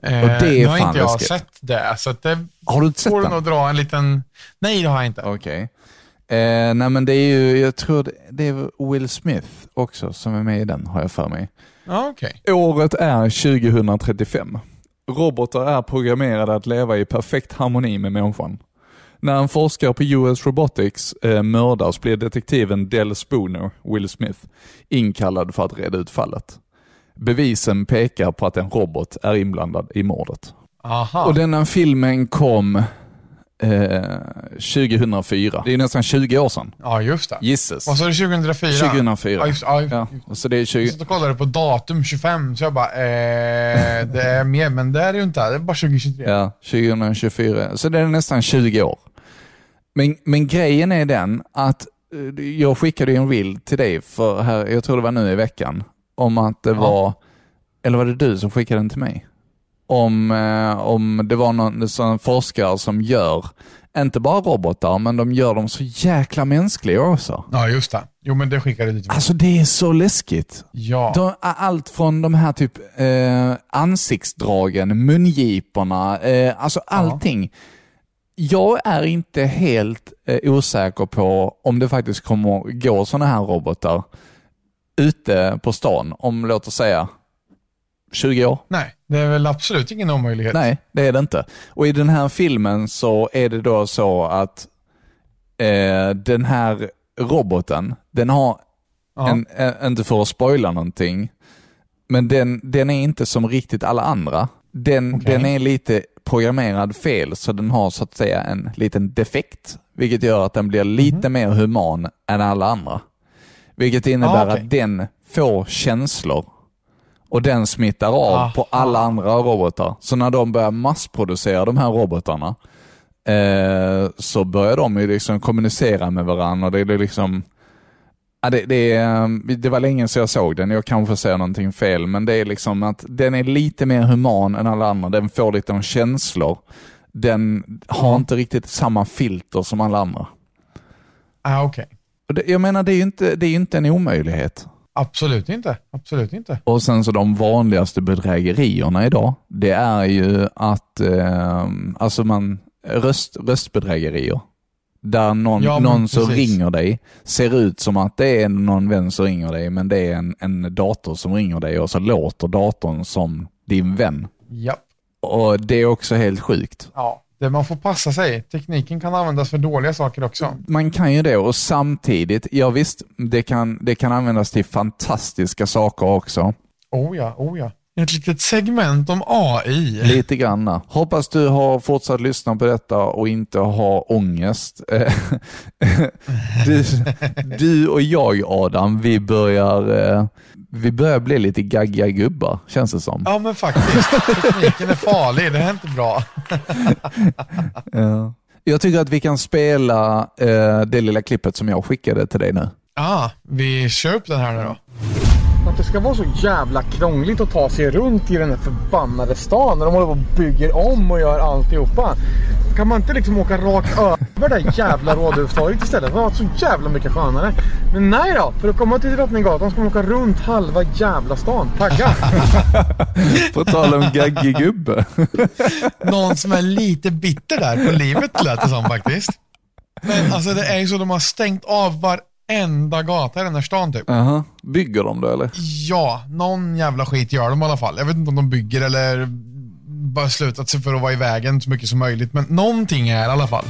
S2: Eh,
S3: Och det är
S2: nu har
S3: fan
S2: inte jag
S3: läskigt.
S2: sett det, så att det
S3: Har du inte sett
S2: får du
S3: den?
S2: nog dra en liten... Nej, det har jag inte.
S3: Okej. Eh, nej, men det är ju, jag tror det, det är Will Smith också som är med i den, har jag för mig.
S2: Ja, Okej.
S3: Året är 2035. Robotar är programmerade att leva i perfekt harmoni med människan. När en forskare på US Robotics eh, mördas blir detektiven Del Spooner, Will Smith, inkallad för att reda ut fallet. Bevisen pekar på att en robot är inblandad i mordet.
S2: Aha.
S3: Och denna filmen kom eh, 2004. Det är nästan 20 år sedan.
S2: Ja, just det.
S3: Gisses.
S2: Och så är det 2004.
S3: 2004.
S2: Ja, just, ja, just.
S3: Ja, och så det är 20...
S2: Så då kollade jag på datum 25, så jag bara, eh, det är mer, men det är det ju inte. Det är bara 2023.
S3: Ja, 2024. Så det är nästan 20 år. Men, men grejen är den att eh, jag skickade ju en bild till dig, för här, jag tror det var nu i veckan, om att det var, eller var det du som skickade den till mig? Om, eh, om det var någon sån forskare som gör, inte bara robotar, men de gör dem så jäkla mänskliga också.
S2: Ja, just det. Jo, men det skickade du till mig.
S3: Alltså det är så läskigt.
S2: Ja.
S3: De, allt från de här typ eh, ansiktsdragen, mungiporna, eh, alltså allting. Jag är inte helt eh, osäker på om det faktiskt kommer att gå sådana här robotar ute på stan om, låt oss säga, 20 år.
S2: Nej, det är väl absolut ingen omöjlighet.
S3: Nej, det är det inte. Och i den här filmen så är det då så att eh, den här roboten, den har
S2: Ja.
S3: en, en, inte för att spoila någonting, men den, den är inte som riktigt alla andra. Den,
S2: Okej.
S3: den är lite programmerad fel, så den har så att säga en liten defekt, vilket gör att den blir
S2: Mhm.
S3: lite mer human än alla andra. Vilket innebär
S2: Ah, okej.
S3: att den får känslor och den smittar av
S2: Aha.
S3: på alla andra robotar. Så när de börjar massproducera de här robotarna eh, så börjar de ju liksom kommunicera med varandra. Och det, är liksom, ja, det, det, är, eh, det var länge sedan jag såg den, jag kanske säger någonting fel, men det är liksom att den är lite mer human än alla andra. Den får lite om känslor. Den har inte riktigt samma filter som alla andra.
S2: Ah, Okej.
S3: Och det, jag menar, det är ju inte, det är ju inte en omöjlighet.
S2: Absolut inte. Absolut inte.
S3: Och sen så de vanligaste bedrägerierna idag, det är ju att eh, alltså man, röst, röstbedrägerier. Där någon,
S2: Ja, men
S3: någon som
S2: precis.
S3: ringer dig ser ut som att det är någon vän som ringer dig, men det är en, en dator som ringer dig och så låter datorn som din vän.
S2: Japp.
S3: Och Det är också helt sjukt.
S2: Ja. Det man får passa sig. Tekniken kan användas för dåliga saker också.
S3: Man kan ju det och samtidigt, ja visst, det kan, det kan användas till fantastiska saker också.
S2: Oh ja, oh ja. Ett litet segment om AI.
S3: Lite grann. Hoppas du har fortsatt lyssna på detta och inte har ångest. Eh, du, du och jag Adam, vi börjar, eh, vi börjar bli lite gaggiga gubbar känns det som.
S2: Ja, men faktiskt. Tekniken är farlig. Det är inte bra.
S3: Ja. Jag tycker att vi kan spela eh, det lilla klippet som jag skickade till dig nu.
S2: Ah, vi kör upp den här nu då.
S6: Att det ska vara så jävla krångligt att ta sig runt i den här förbannade stan när de håller på och bygger om och gör alltihopa.
S2: Kan man inte liksom åka rakt över det jävla rådhustorget istället? Det var så jävla mycket skönare. Men nej då, för att komma till Drottninggatan ska man åka runt halva jävla stan. Tagga!
S3: På tal om gaggig gubbe.
S7: Någon som är lite bitter där på livet lät det som faktiskt. Men alltså det är ju så, de har stängt av varenda gata i den här stan typ.
S3: Aha. Bygger de det eller?
S7: Ja, någon jävla skit gör de i alla fall. Jag vet inte om de bygger eller bara slutat sig för att vara i vägen så mycket som möjligt. Men någonting är i alla fall.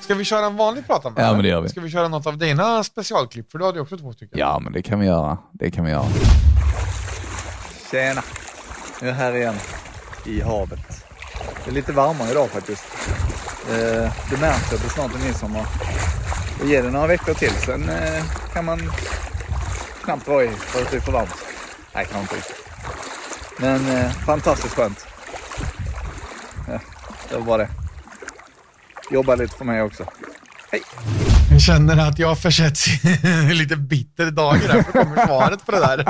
S7: Ska vi köra en vanlig prata med
S3: Ja,
S7: eller?
S3: men det gör vi.
S7: Ska vi köra något av dina specialklipp? För du hade ju också två stycken.
S3: Ja, men det kan vi göra. Det kan vi göra. Tjena! Nu är jag här igen i havet. Det är lite varmare idag faktiskt. Eh, Det märks att det snart är midsommar. Och ger det några veckor till, sen eh, kan man knappt vara i för att det är för varmt. Nej, kanske inte riktigt. Men eh, fantastiskt skönt. Ja, det var bara det. Jobba lite för mig också.
S7: Jag känner att jag försätts i lite bitter dagar här, för kommer svaret på det där.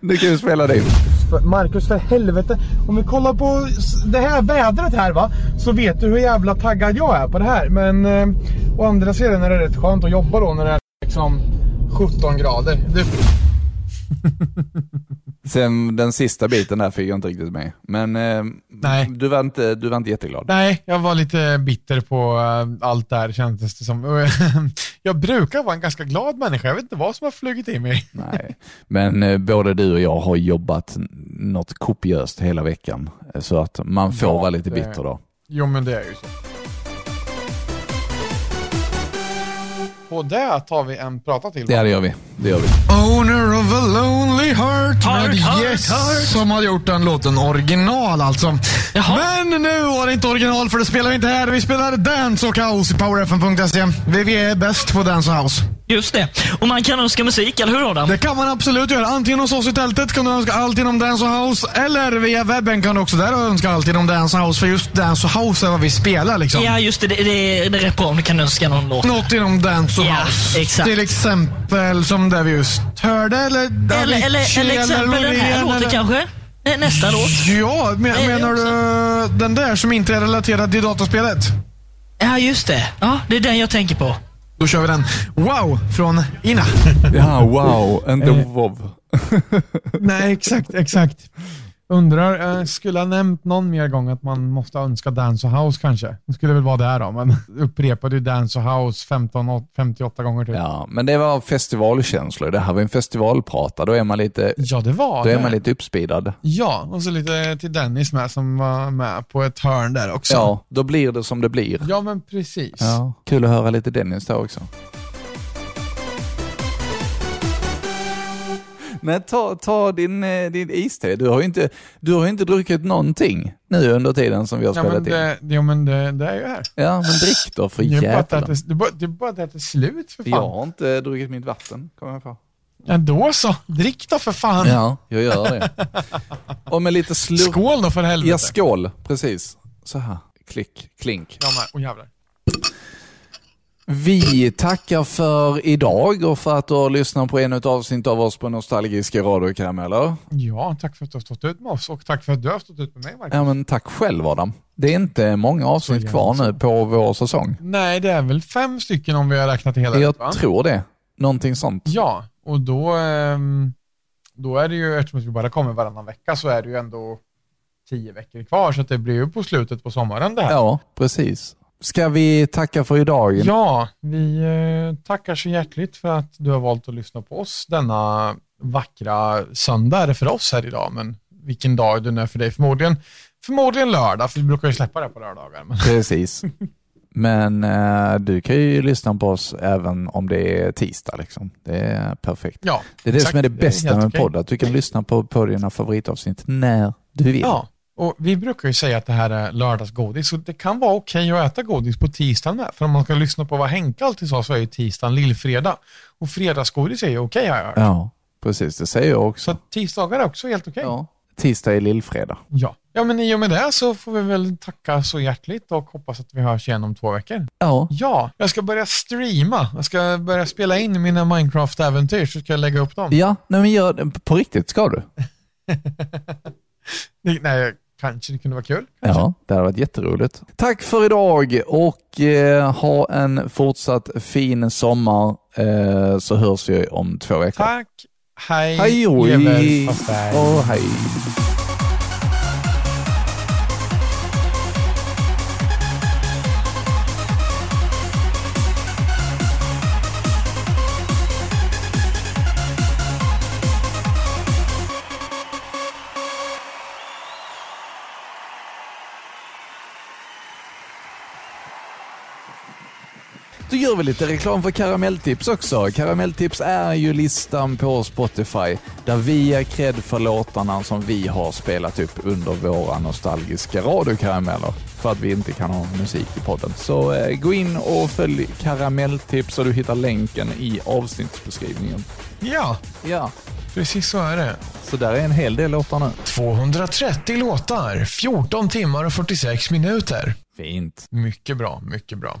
S3: Nu kan vi spela dig.
S2: För- Marcus för helvete. Om vi kollar på s- det här vädret här va. Så vet du hur jävla taggad jag är på det här. Men eh, å andra sidan är det rätt skönt att jobba då när det är liksom 17 grader. Det,
S3: Sen den sista biten där fick jag inte riktigt med. Men eh,
S7: Nej.
S3: Du, var inte, du var inte jätteglad.
S7: Nej, jag var lite bitter på eh, allt det här kändes det som. Och, eh, jag brukar vara en ganska glad människa. Jag vet inte vad som har flugit i mig.
S3: Nej. Men eh, både du och jag har jobbat n- något kopiöst hela veckan. Eh, Så att man får
S7: Ja,
S3: vara lite
S7: det-
S3: bitter då.
S7: Jo, men det är ju så. På det tar vi en prata till.
S3: Ja, det gör vi. Det gör vi.
S7: Owner of a lonely heart med Yes som har gjort den låten original alltså. Men nu var det inte original för det spelar vi inte här. Vi spelar Dance och House i powerfm.se. E. Vi är bäst på Dance och House.
S8: Just det. Och man kan önska musik, eller hur Adam?
S7: Det kan man absolut göra. Antingen hos oss i tältet kan du önska allt inom Dance och House eller via webben kan du också där önska allt inom Dance och House för just Dance och House är vad vi spelar liksom.
S8: Ja, just det. Det, det, det är rätt bra om du kan önska någon låt.
S7: Något inom Dance och
S8: Ja,
S7: House.
S8: exakt.
S7: Till exempel som det vi just hörde eller
S8: Eller, eller, eller, exempel den här
S7: Loreen,
S8: låten
S7: eller-
S8: kanske? Nä, nästa låt.
S7: Ja, men,
S8: det
S7: menar du den där som inte är relaterad till dataspelet?
S8: Ja, just det. Ja, det är den jag tänker på.
S7: Då kör vi den. Wow från Ina.
S3: Ja, wow. Inte wow.
S7: Nej, exakt, exakt. Undrar, eh, skulle ha nämnt någon mer gång att man måste önska Dance och House kanske? Det skulle väl vara det här då, men upprepade ju Dance och House 15, och 58 gånger typ. Ja,
S3: Ja, men det var festivalkänslor. Det här var en festivalprata. Då är man lite,
S7: det var
S3: då
S7: det.
S3: är man lite uppspeedad.
S7: Ja, och så lite till Dennis med som var med på ett hörn där också.
S3: Ja, då blir det som det blir.
S7: ja men precis.
S3: Ja. Kul att höra lite Dennis då också. Men ta, ta din, eh, din iste. Du har ju inte, du har ju inte druckit någonting nu under tiden som vi har
S7: Ja,
S3: spelat
S7: men, eh,
S3: in.
S7: det, jo, men det, det är ju här.
S3: Ja, men drick då för
S7: Det är bara att det-
S3: jävlar.
S7: det är bara- det är bara att det är slut för fan.
S3: Jag har inte druckit mitt vatten, kommer jag på.
S7: Ja, då så. Drick då för fan.
S3: Ja, jag gör det. Och med lite slurk...
S7: Skål då för helvete.
S3: Ja, skål. Precis. Så här. Klick, klink.
S7: Ja, men, oh, jävlar.
S3: Vi tackar för idag och för att du har lyssnat på en avsnitt av oss på Nostalgiska radiokarameller.
S7: Ja, tack för att du har stått ut med oss och tack för att du har stått ut med mig, Marcus.
S3: Ja, men tack själv Adam. Det är inte många avsnitt kvar nu på vår säsong.
S7: Nej, det är väl fem stycken om vi har räknat det hela ut, va?
S3: Jag tror det. Någonting sånt.
S7: Ja, och då, ehm, då är det ju, eftersom vi bara kommer varannan vecka, så är det ju ändå tio veckor kvar, så att det blir ju på slutet på sommaren det här.
S3: Ja, precis. Ska vi tacka för idag?
S7: Ja, vi eh, tackar så hjärtligt för att du har valt att lyssna på oss denna vackra söndag är det för oss här idag, men vilken dag den är för dig förmodligen. Förmodligen lördag, för vi brukar ju släppa det på lördagar. Men
S3: Precis. Men eh, du kan ju lyssna på oss även om det är tisdag. Liksom. Det är perfekt.
S7: ja,
S3: Det är det
S7: exakt.
S3: som är det bästa
S7: helt
S3: med en
S7: okej.
S3: podd, att du kan lyssna på, på dina favoritavsnitt när du vill.
S7: Ja, och vi brukar ju säga att det här är lördagsgodis, så det kan vara okej att äta godis på tisdagen med. För om man ska lyssna på vad Henke alltid sa så är ju tisdagen lillfredag. Och fredagsgodis är ju okej har jag hört.
S3: Ja, precis. Det säger jag
S7: Så
S3: också.
S7: att tisdagar är också helt okej.
S3: Ja. Tisdag är lillfredag.
S7: Ja. ja, men i och med det så får vi väl tacka så hjärtligt och hoppas att vi hörs igen om två veckor.
S3: Ja,
S7: Ja, jag ska börja streama. Jag ska börja spela in mina Minecraft-äventyr så ska jag lägga upp dem.
S3: ja nej, men gör, på riktigt ska du.
S7: Det- Nej, kanske det kunde vara kul.
S3: Ja, det hade varit jätteroligt. Tack för idag och eh, ha en fortsatt fin sommar eh, så hörs vi om två veckor.
S7: Tack. Hej.
S3: Hej och
S7: Jävel,
S3: hej.
S7: fast där.
S3: Och hej. Då gör vi lite reklam för Karamelltips också. Karamelltips är ju listan på Spotify där vi är cred för låtarna som vi har spelat upp under våra nostalgiska radiokarameller för att vi inte kan ha musik i podden. Så eh, gå in och följ Karamelltips och du hittar länken i avsnittsbeskrivningen.
S7: Ja,
S3: Ja,
S7: precis så är det.
S3: så där är en hel del låtar nu.
S7: 230 låtar, 14 timmar och 46 minuter.
S3: Fint.
S7: Mycket bra, mycket bra.